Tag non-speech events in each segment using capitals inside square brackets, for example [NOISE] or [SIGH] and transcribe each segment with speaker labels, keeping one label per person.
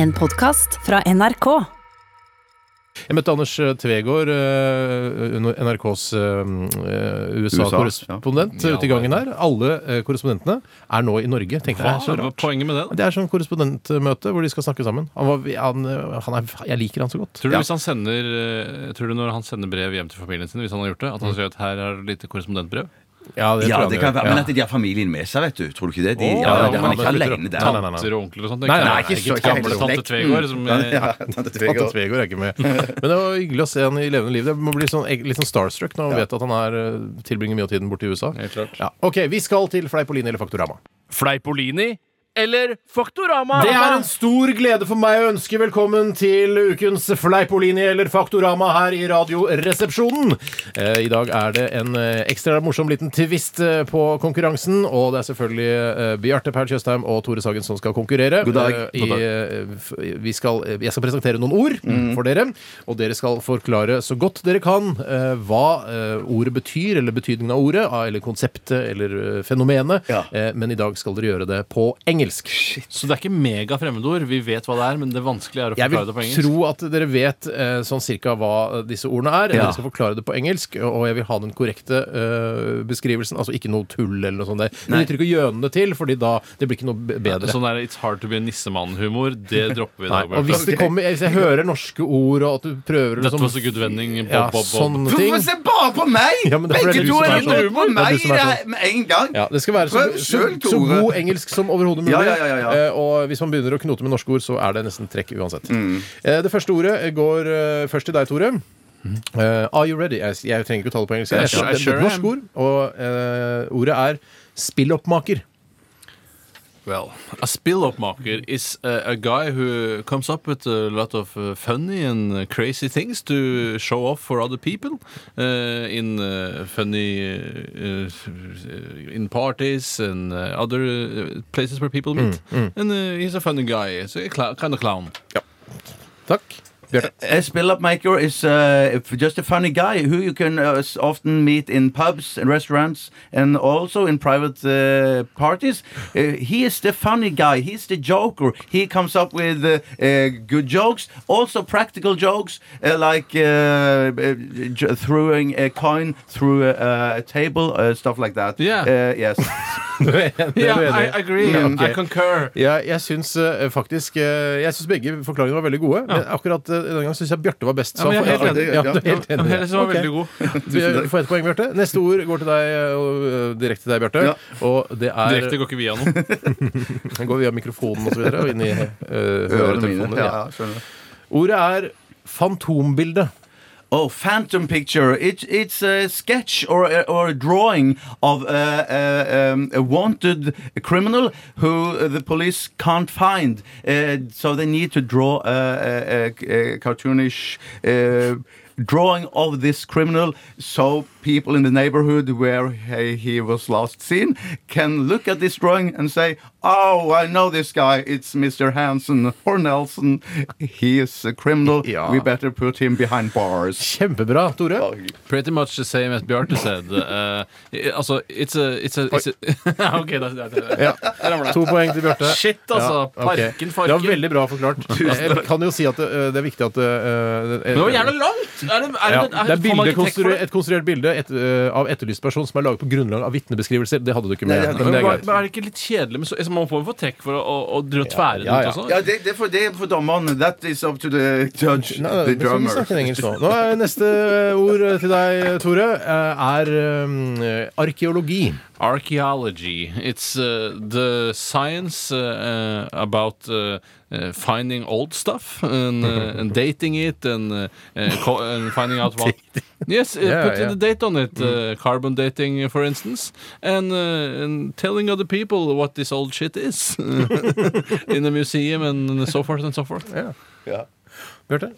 Speaker 1: En podkast fra NRK.
Speaker 2: Jeg møtte Anders eh, Tvegård, eh, under NRKs eh, USA-korrespondent,
Speaker 3: Ja.
Speaker 2: ute i gangen her. Alle eh, korrespondentene er nå i Norge. Tenk deg, det
Speaker 3: Hva
Speaker 2: er så
Speaker 3: er
Speaker 2: rart.
Speaker 3: poenget med det? da?
Speaker 2: Det er sånn korrespondentmøte hvor de skal snakke sammen. Han var, han, eh, han er, jeg liker han så godt.
Speaker 3: Tror du, hvis han sender, eh, tror du når han sender brev hjem til familien sin, hvis han har gjort det, at
Speaker 2: Mm.
Speaker 3: han sier at her er det lite korrespondentbrev?
Speaker 2: Ja, det tror jeg
Speaker 4: Ja, det
Speaker 2: han
Speaker 4: kan
Speaker 2: gjør.
Speaker 4: være, men
Speaker 2: Ja.
Speaker 4: at de har familien med seg, vet du. Tror du ikke det? De,
Speaker 2: Å, ja, ja,
Speaker 4: ja, de, han er
Speaker 2: men
Speaker 4: ikke
Speaker 2: slutter
Speaker 4: alene
Speaker 2: opp.
Speaker 4: der.
Speaker 2: Nei, nei, nei.
Speaker 3: Tanter og onkler og sånt?
Speaker 2: Nei, nei, nei,
Speaker 4: ikke så
Speaker 3: gamle
Speaker 4: gamle
Speaker 3: tante
Speaker 4: folk.
Speaker 3: Tvegård.
Speaker 2: Mm.
Speaker 3: Som, eh,
Speaker 4: Ja, det tror jeg
Speaker 2: Tante
Speaker 4: også.
Speaker 2: Tvegård er ikke med. Men det var hyggelig å se han i levende liv. Det må bli sånn, litt sånn starstruck når man vet at han er, eh, tilbringer mye av tiden borte i USA.
Speaker 3: Helt klart.
Speaker 2: Ja. Ok, vi skal til Fleipolini eller Faktorama.
Speaker 3: Fleipolini eller Faktorama?
Speaker 2: Det er en stor glede for meg å ønske velkommen til ukens Fleipolini eller Faktorama her i Radioresepsjonen. Eh, I dag er det en eh, ekstra morsom liten twist eh, på konkurransen, og det er selvfølgelig eh, Bjarte Paul Tjøstheim og Tore Sagen som skal konkurrere.
Speaker 4: God dag.
Speaker 2: Eh, I, eh, f- vi skal, eh, jeg skal presentere noen ord
Speaker 3: Mm.
Speaker 2: for dere, og dere skal forklare så godt dere kan eh, hva eh, ordet betyr, eller betydningen av ordet, ah, eller konseptet, eller eh, fenomenet,
Speaker 4: Ja.
Speaker 2: eh, men i dag skal dere gjøre det på engelsk.
Speaker 3: Så det er ikke mega fremmedord. Vi vet hva det er, men det vanskelige er å
Speaker 2: Jeg
Speaker 3: forklare
Speaker 2: vil
Speaker 3: det på engelsk.
Speaker 2: tro at dere vet eh, sånn cirka hva eh, disse ordene er.
Speaker 4: Ja.
Speaker 2: Dere skal forklare det på engelsk, og jeg vil ha den korrekte eh, beskrivelsen. Altså ikke noe tull eller noe sånt. Der. Men jeg trykker gjønene til, fordi da det blir ikke noe be- bedre.
Speaker 3: Sånn der It's hard to be a nissemann-humor, det dropper vi i
Speaker 2: Nei,
Speaker 3: dag.
Speaker 2: og hvis, det kommer, hvis jeg hører norske ord, og at du prøver
Speaker 3: Dette
Speaker 2: liksom-
Speaker 3: var så good vending. Bob,
Speaker 2: ja, sånn
Speaker 3: bob, bob.
Speaker 2: sånne
Speaker 4: Hvorfor
Speaker 2: ting
Speaker 4: se bare på meg?!
Speaker 2: Ja, men det er fordi det er du
Speaker 4: Begge to
Speaker 2: som
Speaker 4: er
Speaker 2: er sånn.
Speaker 4: inne på
Speaker 2: Det er
Speaker 4: meg
Speaker 2: du som er sånn-
Speaker 4: det er- med en gang!
Speaker 2: Ja, det skal være så,
Speaker 4: Prøv
Speaker 2: så,
Speaker 4: selv,
Speaker 2: så
Speaker 4: Tore.
Speaker 2: god engelsk som overhodet mulig.
Speaker 4: Ja, ja, ja, ja.
Speaker 2: Eh, og hvis man begynner å knote med norske ord, så er det nesten trekk uansett.
Speaker 3: Mm.
Speaker 2: Eh, det første ordet går eh, først til deg, Tore. Eh, are you ready? Jeg, jeg trenger ikke å ta det på engelsk.
Speaker 3: Yeah,
Speaker 2: Jeg,
Speaker 3: sure,
Speaker 2: det er
Speaker 3: sure
Speaker 2: et norsk
Speaker 3: am.
Speaker 2: ord, og eh, ordet er spilloppmaker.
Speaker 3: Well, a spill-up-maker is uh, a guy who comes up with a lot of uh, funny and uh, crazy things to show off for other people uh, in uh, funny uh, uh, in parties and uh, other uh, places where people meet.
Speaker 2: Mm,
Speaker 3: And uh, he's a funny guy, so a cl- kind of clown.
Speaker 2: Takk.
Speaker 3: [LAUGHS]
Speaker 2: Bjarte.
Speaker 4: A spill-up-maker Eh, is uh, just a funny guy who you can uh, s- often meet in pubs and restaurants and also in private uh, parties. Uh, he is the funny guy. He's the joker. He comes up with uh, uh, good jokes, also practical jokes uh, like uh, uh, j- throwing a coin through a, a table, uh, stuff like that.
Speaker 3: Yeah.
Speaker 4: Uh, yes.
Speaker 2: Du er enig? Du er
Speaker 3: Yeah, I
Speaker 2: enig?
Speaker 3: agree.
Speaker 2: Mm, okay.
Speaker 3: I concur.
Speaker 2: Ja, jeg syns eh, faktisk eh, Jeg syns begge forklaringene var veldig gode, men akkurat eh, denne gangen syns jeg Bjarte var best.
Speaker 3: Ja, men jeg er
Speaker 2: han får-
Speaker 3: helt enig.
Speaker 2: Ja, du er helt
Speaker 3: Ja,
Speaker 2: enig.
Speaker 3: men jeg synes han var
Speaker 2: Ok.
Speaker 3: veldig [LAUGHS] god.
Speaker 2: Du får ett poeng, Bjarte. Neste ord går til deg, og, ø, direkte til deg, Bjarte.
Speaker 4: Ja.
Speaker 2: Og det er
Speaker 3: Direkte går ikke via noe.
Speaker 2: Den går via mikrofonen og så videre, og inn i ø,
Speaker 4: mine.
Speaker 2: høretelefonene.
Speaker 4: Ja, ja, skjønner.
Speaker 2: Ordet er fantombilde.
Speaker 4: Oh, phantom picture. It, it's a sketch or a, or a drawing of a, a, um, a wanted criminal who uh, the police can't find. Uh, so they need to draw a, a, a- a cartoonish uh, drawing of this criminal so people in the neighborhood where he, he was last seen can look at this drawing and say, Oh, I know this guy. It's Mr. Hansen or Nelson. He is a criminal.
Speaker 2: Ja.
Speaker 4: We better put him behind bars.
Speaker 2: Kjempebra, Tore.
Speaker 3: [LAUGHS] Pretty much the same as Bjarte said. Uh, i- altså, it's a, it's a, it's [LAUGHS] a OK, da, da, da.
Speaker 4: [LAUGHS]
Speaker 2: Ja. To poeng til Bjarte.
Speaker 3: Shit, altså.
Speaker 2: Ja, ok.
Speaker 3: Parken,
Speaker 2: Det var
Speaker 3: farken.
Speaker 2: veldig bra
Speaker 4: [LAUGHS]
Speaker 2: forklart. Jeg kan jo si at ø, det er viktig at ø,
Speaker 3: Men det var jævla langt! Er det, er
Speaker 2: ja,
Speaker 3: det, er
Speaker 2: det er
Speaker 3: får man ikke
Speaker 2: bildekonstru-
Speaker 3: trekk for det?
Speaker 2: et konstruert bilde et, ø, av etterlyst person som er laget på grunnlag av vitnebeskrivelser. Det hadde du ikke med.
Speaker 4: Nei, det hadde
Speaker 2: men det er
Speaker 3: Men
Speaker 2: greit.
Speaker 3: er det ikke litt kjedelig? Med så, altså, man får jo få trekk for å, å, å dra- tvære det
Speaker 2: ja, ja.
Speaker 3: ut også.
Speaker 4: Ja, det, det, er for, det er for dommeren. That is up to the judge,
Speaker 2: Nei, nei, vi
Speaker 4: the
Speaker 2: skal ikke
Speaker 4: drummer.
Speaker 2: snakke engelsk nå. nå er neste ord eh, til deg, Tore, er um, arkeologi.
Speaker 3: Archaeology. It's uh, the science uh, uh, about uh, uh, finding old stuff
Speaker 4: [LAUGHS]
Speaker 3: and, uh, and dating it and, uh, uh, co- and finding out what. Yes, uh,
Speaker 2: Yeah,
Speaker 3: put
Speaker 2: yeah.
Speaker 3: the date on it. Uh,
Speaker 4: Mm.
Speaker 3: carbon dating, uh, for instance, and, uh, and telling other people what this old shit is [LAUGHS] in a museum and so forth and so forth.
Speaker 2: Bjarte?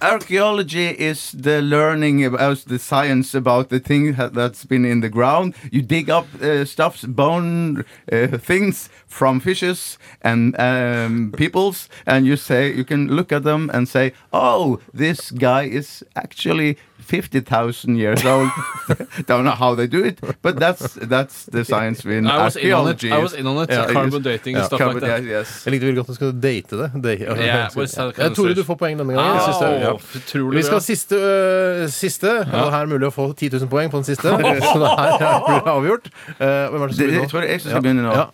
Speaker 4: Archaeology is the learning about the science about the thing ha- that's been in the ground. You dig up uh, stuffs, bone uh, things from fishes and um, [LAUGHS] peoples, and you say you can look at them and say, "Oh, this guy is actually 50,000 years old. [LAUGHS] Don't know how they do it, but that's that's the science we in
Speaker 3: I was in on it.
Speaker 4: archaeology.
Speaker 3: I was in on it.
Speaker 4: Yeah, yes.
Speaker 3: Carbon dating and stuff
Speaker 4: Carbon-
Speaker 3: like that.
Speaker 4: yeah, yes.
Speaker 2: Jeg likte veldig godt at du skulle date det. Date.
Speaker 3: Yeah, well, it's that
Speaker 2: [LAUGHS]
Speaker 3: kind
Speaker 2: Ja,
Speaker 3: of
Speaker 2: Tore,
Speaker 3: search.
Speaker 2: du får poeng denne gangen. Siste,
Speaker 3: Au,
Speaker 2: ja.
Speaker 3: utrolig
Speaker 2: Vi skal
Speaker 3: bra.
Speaker 2: ha siste. øh, siste Og her er det mulig å få 10 000 poeng på den [LAUGHS] siste. Så det her er det avgjort. Eh, hvem er det som
Speaker 4: Det-
Speaker 2: begynner
Speaker 4: jeg tror det er jeg som skal
Speaker 2: Ja.
Speaker 4: begynne nå.
Speaker 2: Ja.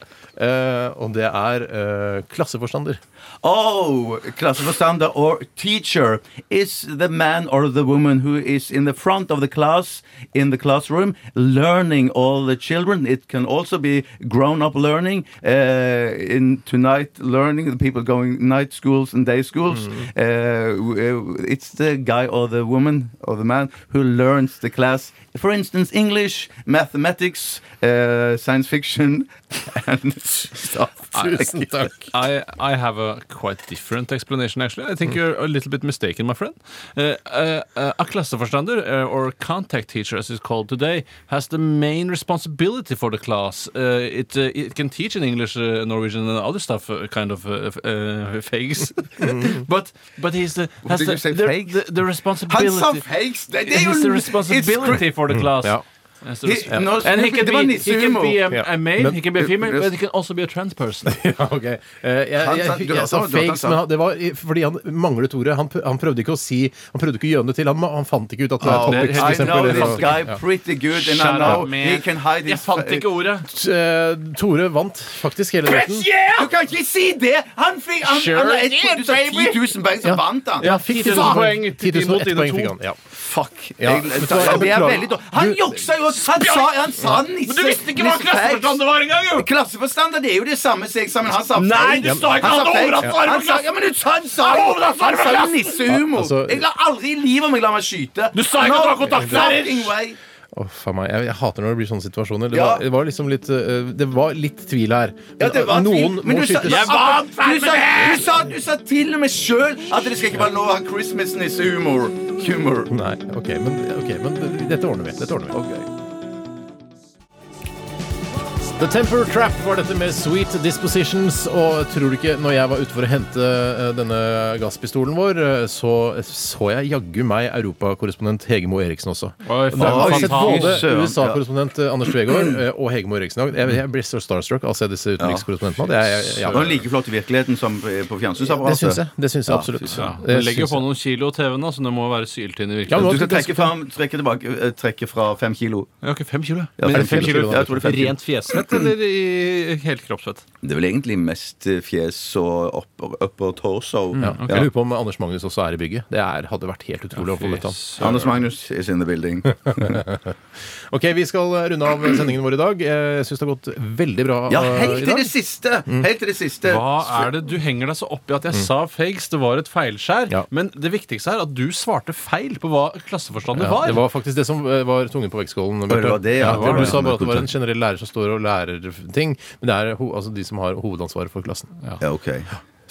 Speaker 2: Eh, og det er eh, klasseforstander.
Speaker 4: Oh, klasseforstander or teacher is the man or the woman who is in the front of the class, in the classroom, learning all the children. It can also be grown-up learning, uh, in tonight learning, the people going night schools and day schools. Uh, w- uh, it's the guy or the woman or the man who learns the class. For instance, English, mathematics, uh, science fiction, [LAUGHS] and stuff.
Speaker 2: [LAUGHS] Tusen takk.
Speaker 3: I, I have a quite different explanation, actually. I
Speaker 4: Mm.
Speaker 3: think you're a little bit mistaken, my friend. Uh, uh, uh, a klasseforstander, uh, or contact teacher as it's called today, has the main responsibility for the class. Uh, it, uh, it can teach in English, uh, Norwegian, and other stuff, uh, kind of uh, uh, [LAUGHS] fakes. but but he's the has
Speaker 4: Mm-hmm. did
Speaker 3: the,
Speaker 4: you say,
Speaker 3: the,
Speaker 4: fakes?
Speaker 3: the, the
Speaker 4: Han sa
Speaker 3: [LAUGHS] responsibility.
Speaker 4: fakes! Det, det er jo
Speaker 3: He's
Speaker 4: it's
Speaker 3: the
Speaker 4: cr-
Speaker 3: responsibility for the class.
Speaker 2: Ja.
Speaker 3: That's the
Speaker 4: He-
Speaker 3: res-
Speaker 4: no,
Speaker 3: and he
Speaker 4: det
Speaker 3: can
Speaker 4: var
Speaker 3: be, he can
Speaker 4: nissehumor.
Speaker 3: be um,
Speaker 2: Ja.
Speaker 3: a male,
Speaker 2: Men-
Speaker 3: he can be a female,
Speaker 4: Yes.
Speaker 3: but he can also be a trans
Speaker 4: [LAUGHS]
Speaker 3: person.
Speaker 2: [LAUGHS] Ja, ok. Eh, jeg, jeg,
Speaker 4: sa-
Speaker 2: jeg,
Speaker 4: du-
Speaker 2: jeg sa
Speaker 4: du- du-
Speaker 2: fakes,
Speaker 4: du-
Speaker 2: men han- det var i- fordi han manglet ordet. Han, pr- han prøvde ikke å si Han prøvde ikke å gjøne det til. Han, han fant ikke ut at det er
Speaker 4: Oh,
Speaker 2: topics, for
Speaker 3: I
Speaker 4: I
Speaker 2: eksempel,
Speaker 4: know
Speaker 2: eller noe.
Speaker 4: this guy
Speaker 2: Ja.
Speaker 4: pretty good, and I
Speaker 3: Shut
Speaker 4: know
Speaker 3: up, man.
Speaker 4: he can hide his
Speaker 3: Jeg fant ikke ordet.
Speaker 2: Eh, Tore vant faktisk hele retten.
Speaker 4: Du kan ikke si det! Han fikk han,
Speaker 3: Sure
Speaker 4: han, jeg trodde
Speaker 3: did,
Speaker 4: Du sa 10
Speaker 3: baby.
Speaker 4: 000 poeng, så vant han.
Speaker 2: Ja, fikk 10 000 poeng. 10 000 og ett poeng fikk han. Ja.
Speaker 4: Fuck.
Speaker 2: Ja.
Speaker 4: Jeg-
Speaker 2: Vet du hva, jeg
Speaker 4: Det er
Speaker 2: beklager.
Speaker 4: veldig dårlig. Han
Speaker 2: Du-
Speaker 4: juksa jo! Han sa, han sa nisse. nisse fakes.
Speaker 3: var engang, jo!
Speaker 4: Klasseforstander det er jo det samme som jeg sa, men han sa fakes.
Speaker 3: Nei, du sa
Speaker 4: Han
Speaker 3: ikke han
Speaker 4: sa
Speaker 3: hadde
Speaker 4: fakes.
Speaker 3: overraskende
Speaker 4: Han sa- Ja, men du sa han sa
Speaker 3: Han overraskende
Speaker 4: Han sa jo
Speaker 3: overraskende.
Speaker 2: Ja,
Speaker 4: nissehumor.
Speaker 2: altså-
Speaker 4: Jeg lar aldri i livet om jeg lar meg skyte.
Speaker 3: Du sa ikke at du har kontaktlærer.
Speaker 4: fucking way.
Speaker 2: Å, faen meg. Jeg, jeg hater når det blir sånne situasjoner. Det,
Speaker 4: Ja.
Speaker 2: var, det var liksom litt eh, Det var litt tvil her. eh,
Speaker 4: Ja, det var
Speaker 2: noen
Speaker 4: tvil, men
Speaker 2: må
Speaker 4: du sa-
Speaker 2: skytes.
Speaker 3: Jeg vant,
Speaker 4: Du sa, du, sa, du sa til og med sjøl at det skal ikke være lov å ha Christmas-nissehumor. Humor.
Speaker 2: Nei, ok, men, ok, men d- dette ordner vi. Dette ordner vi. The Temper Trap var dette med Sweet Dispositions. Og tror du ikke, når jeg var ute for å hente eh, denne gasspistolen vår, eh, så så jeg jaggu meg europakorrespondent Hegemo Eriksen også.
Speaker 3: Oi,
Speaker 2: Og da har jeg sett
Speaker 3: fantastisk.
Speaker 2: både
Speaker 4: Søren, ja.
Speaker 2: USA-korrespondent eh, Anders Tvegård eh, og Hegemo Eriksen. Jeg, jeg blir så starstruck av å se disse utenrikskorrespondentene. Det, er- jeg-
Speaker 4: Det var
Speaker 2: ja,
Speaker 4: like flott i virkeligheten som eh, på
Speaker 2: det syns
Speaker 4: fjernsynsapparatet.
Speaker 2: jeg. Det syns jeg absolutt.
Speaker 3: Ja,
Speaker 2: Det
Speaker 3: det legger jo
Speaker 2: syns
Speaker 3: på
Speaker 2: jeg.
Speaker 3: noen kilo TV-en, da, så det må jo være syltynn i
Speaker 2: Ja, men
Speaker 3: virkeligheten.
Speaker 4: Du skal trekke, fram, trekke, tilbake, eh, trekke fra fem kilo.
Speaker 3: Jeg har ikke fem kilo. jeg.
Speaker 4: Ja,
Speaker 3: Men
Speaker 4: fem
Speaker 3: fem
Speaker 4: kilo.
Speaker 3: kilo,
Speaker 4: Ja, jeg tror det er fem kilo.
Speaker 3: Rent fjesvett eller i helkroppsvett?
Speaker 4: Det er vel egentlig mest eh, fjes og upper, upper torso.
Speaker 2: Ja. Jeg lurer på om Anders Magnus også er i bygget. Det er, hadde vært helt utrolig å få møtt han.
Speaker 4: Anders Magnus is in the building.
Speaker 2: Ok, Vi skal eh, runde av sendingen vår i dag. Eh, Jeg syns det har gått veldig bra
Speaker 4: Ja,
Speaker 2: eh, i
Speaker 4: helt til
Speaker 2: dag. Mm.
Speaker 4: det siste! Helt til det siste.
Speaker 3: Hva er det du henger deg så opp i at jeg sa fakes? Det var et feilskjær.
Speaker 2: Ja.
Speaker 3: Men det viktigste er at du svarte feil på hva klasseforstander
Speaker 2: Ja, det
Speaker 3: var.
Speaker 2: var faktisk det som eh, var tungen på vektskålen. Bjarte.
Speaker 4: det var det, ja. Det var
Speaker 2: du
Speaker 4: det.
Speaker 2: sa bare at det var en generell lærer som står og lærer ting, men det er ho altså de som har hovedansvaret for klassen.
Speaker 4: Ja, ok.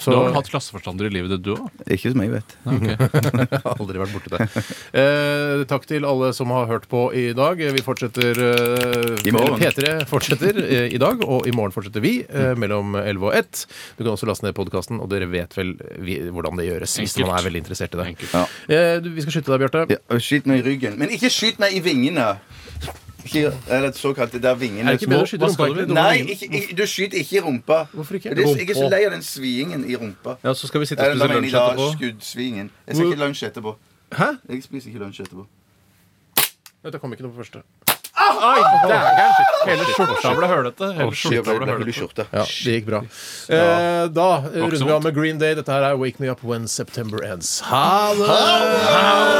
Speaker 2: Så
Speaker 3: Du har vel hatt klasseforstander i livet ditt, du òg?
Speaker 4: Ikke som jeg vet.
Speaker 2: jeg har [LAUGHS] aldri vært borti det. Eh, takk til alle som har hørt på i dag. Vi fortsetter eh,
Speaker 4: I morgen. Mm.
Speaker 2: P3 fortsetter eh, i dag, og i morgen fortsetter vi eh, mellom 11 og 1. Du kan også laste ned podkasten, og dere vet vel vi, hvordan det gjøres hvis
Speaker 3: Enkelt.
Speaker 2: man er veldig interessert i det.
Speaker 3: Enkelt.
Speaker 4: Ja.
Speaker 2: Eh, du, vi skal skyte deg, Bjarte.
Speaker 4: Ja, og skyt meg i ryggen. Men ikke skyt meg i vingene. Ikke, eller såkalt det der vingene
Speaker 2: Er det ikke bedre å skyte
Speaker 3: Hva skal
Speaker 2: rumpa?
Speaker 3: du med?
Speaker 2: egentlig?
Speaker 4: Nei, ikke, ikke, du skyter ikke i rumpa.
Speaker 2: Hvorfor ikke?
Speaker 4: Det er- Jeg er så
Speaker 2: Rumpa.
Speaker 4: lei av den svingen i rumpa.
Speaker 3: Ja, så skal vi sitte og
Speaker 4: Eller la meg
Speaker 3: spise
Speaker 4: inn i
Speaker 3: lunsj
Speaker 4: dag,
Speaker 3: etterpå.
Speaker 4: skuddsvingen. Jeg skal ikke lunsj etterpå.
Speaker 3: Hæ?
Speaker 4: Jeg spiser ikke lunsj etterpå.
Speaker 2: Vet du, Det kom ikke noe på første.
Speaker 3: Oi, dægeren! Hele skjorta ble hølete. Hele skjorta ble hølete.
Speaker 2: Ja, det gikk bra. Eh, da eh, runder vi
Speaker 3: vondt.
Speaker 2: av med Green Day. Dette her er Wake Me Up When September Ends. Ha det!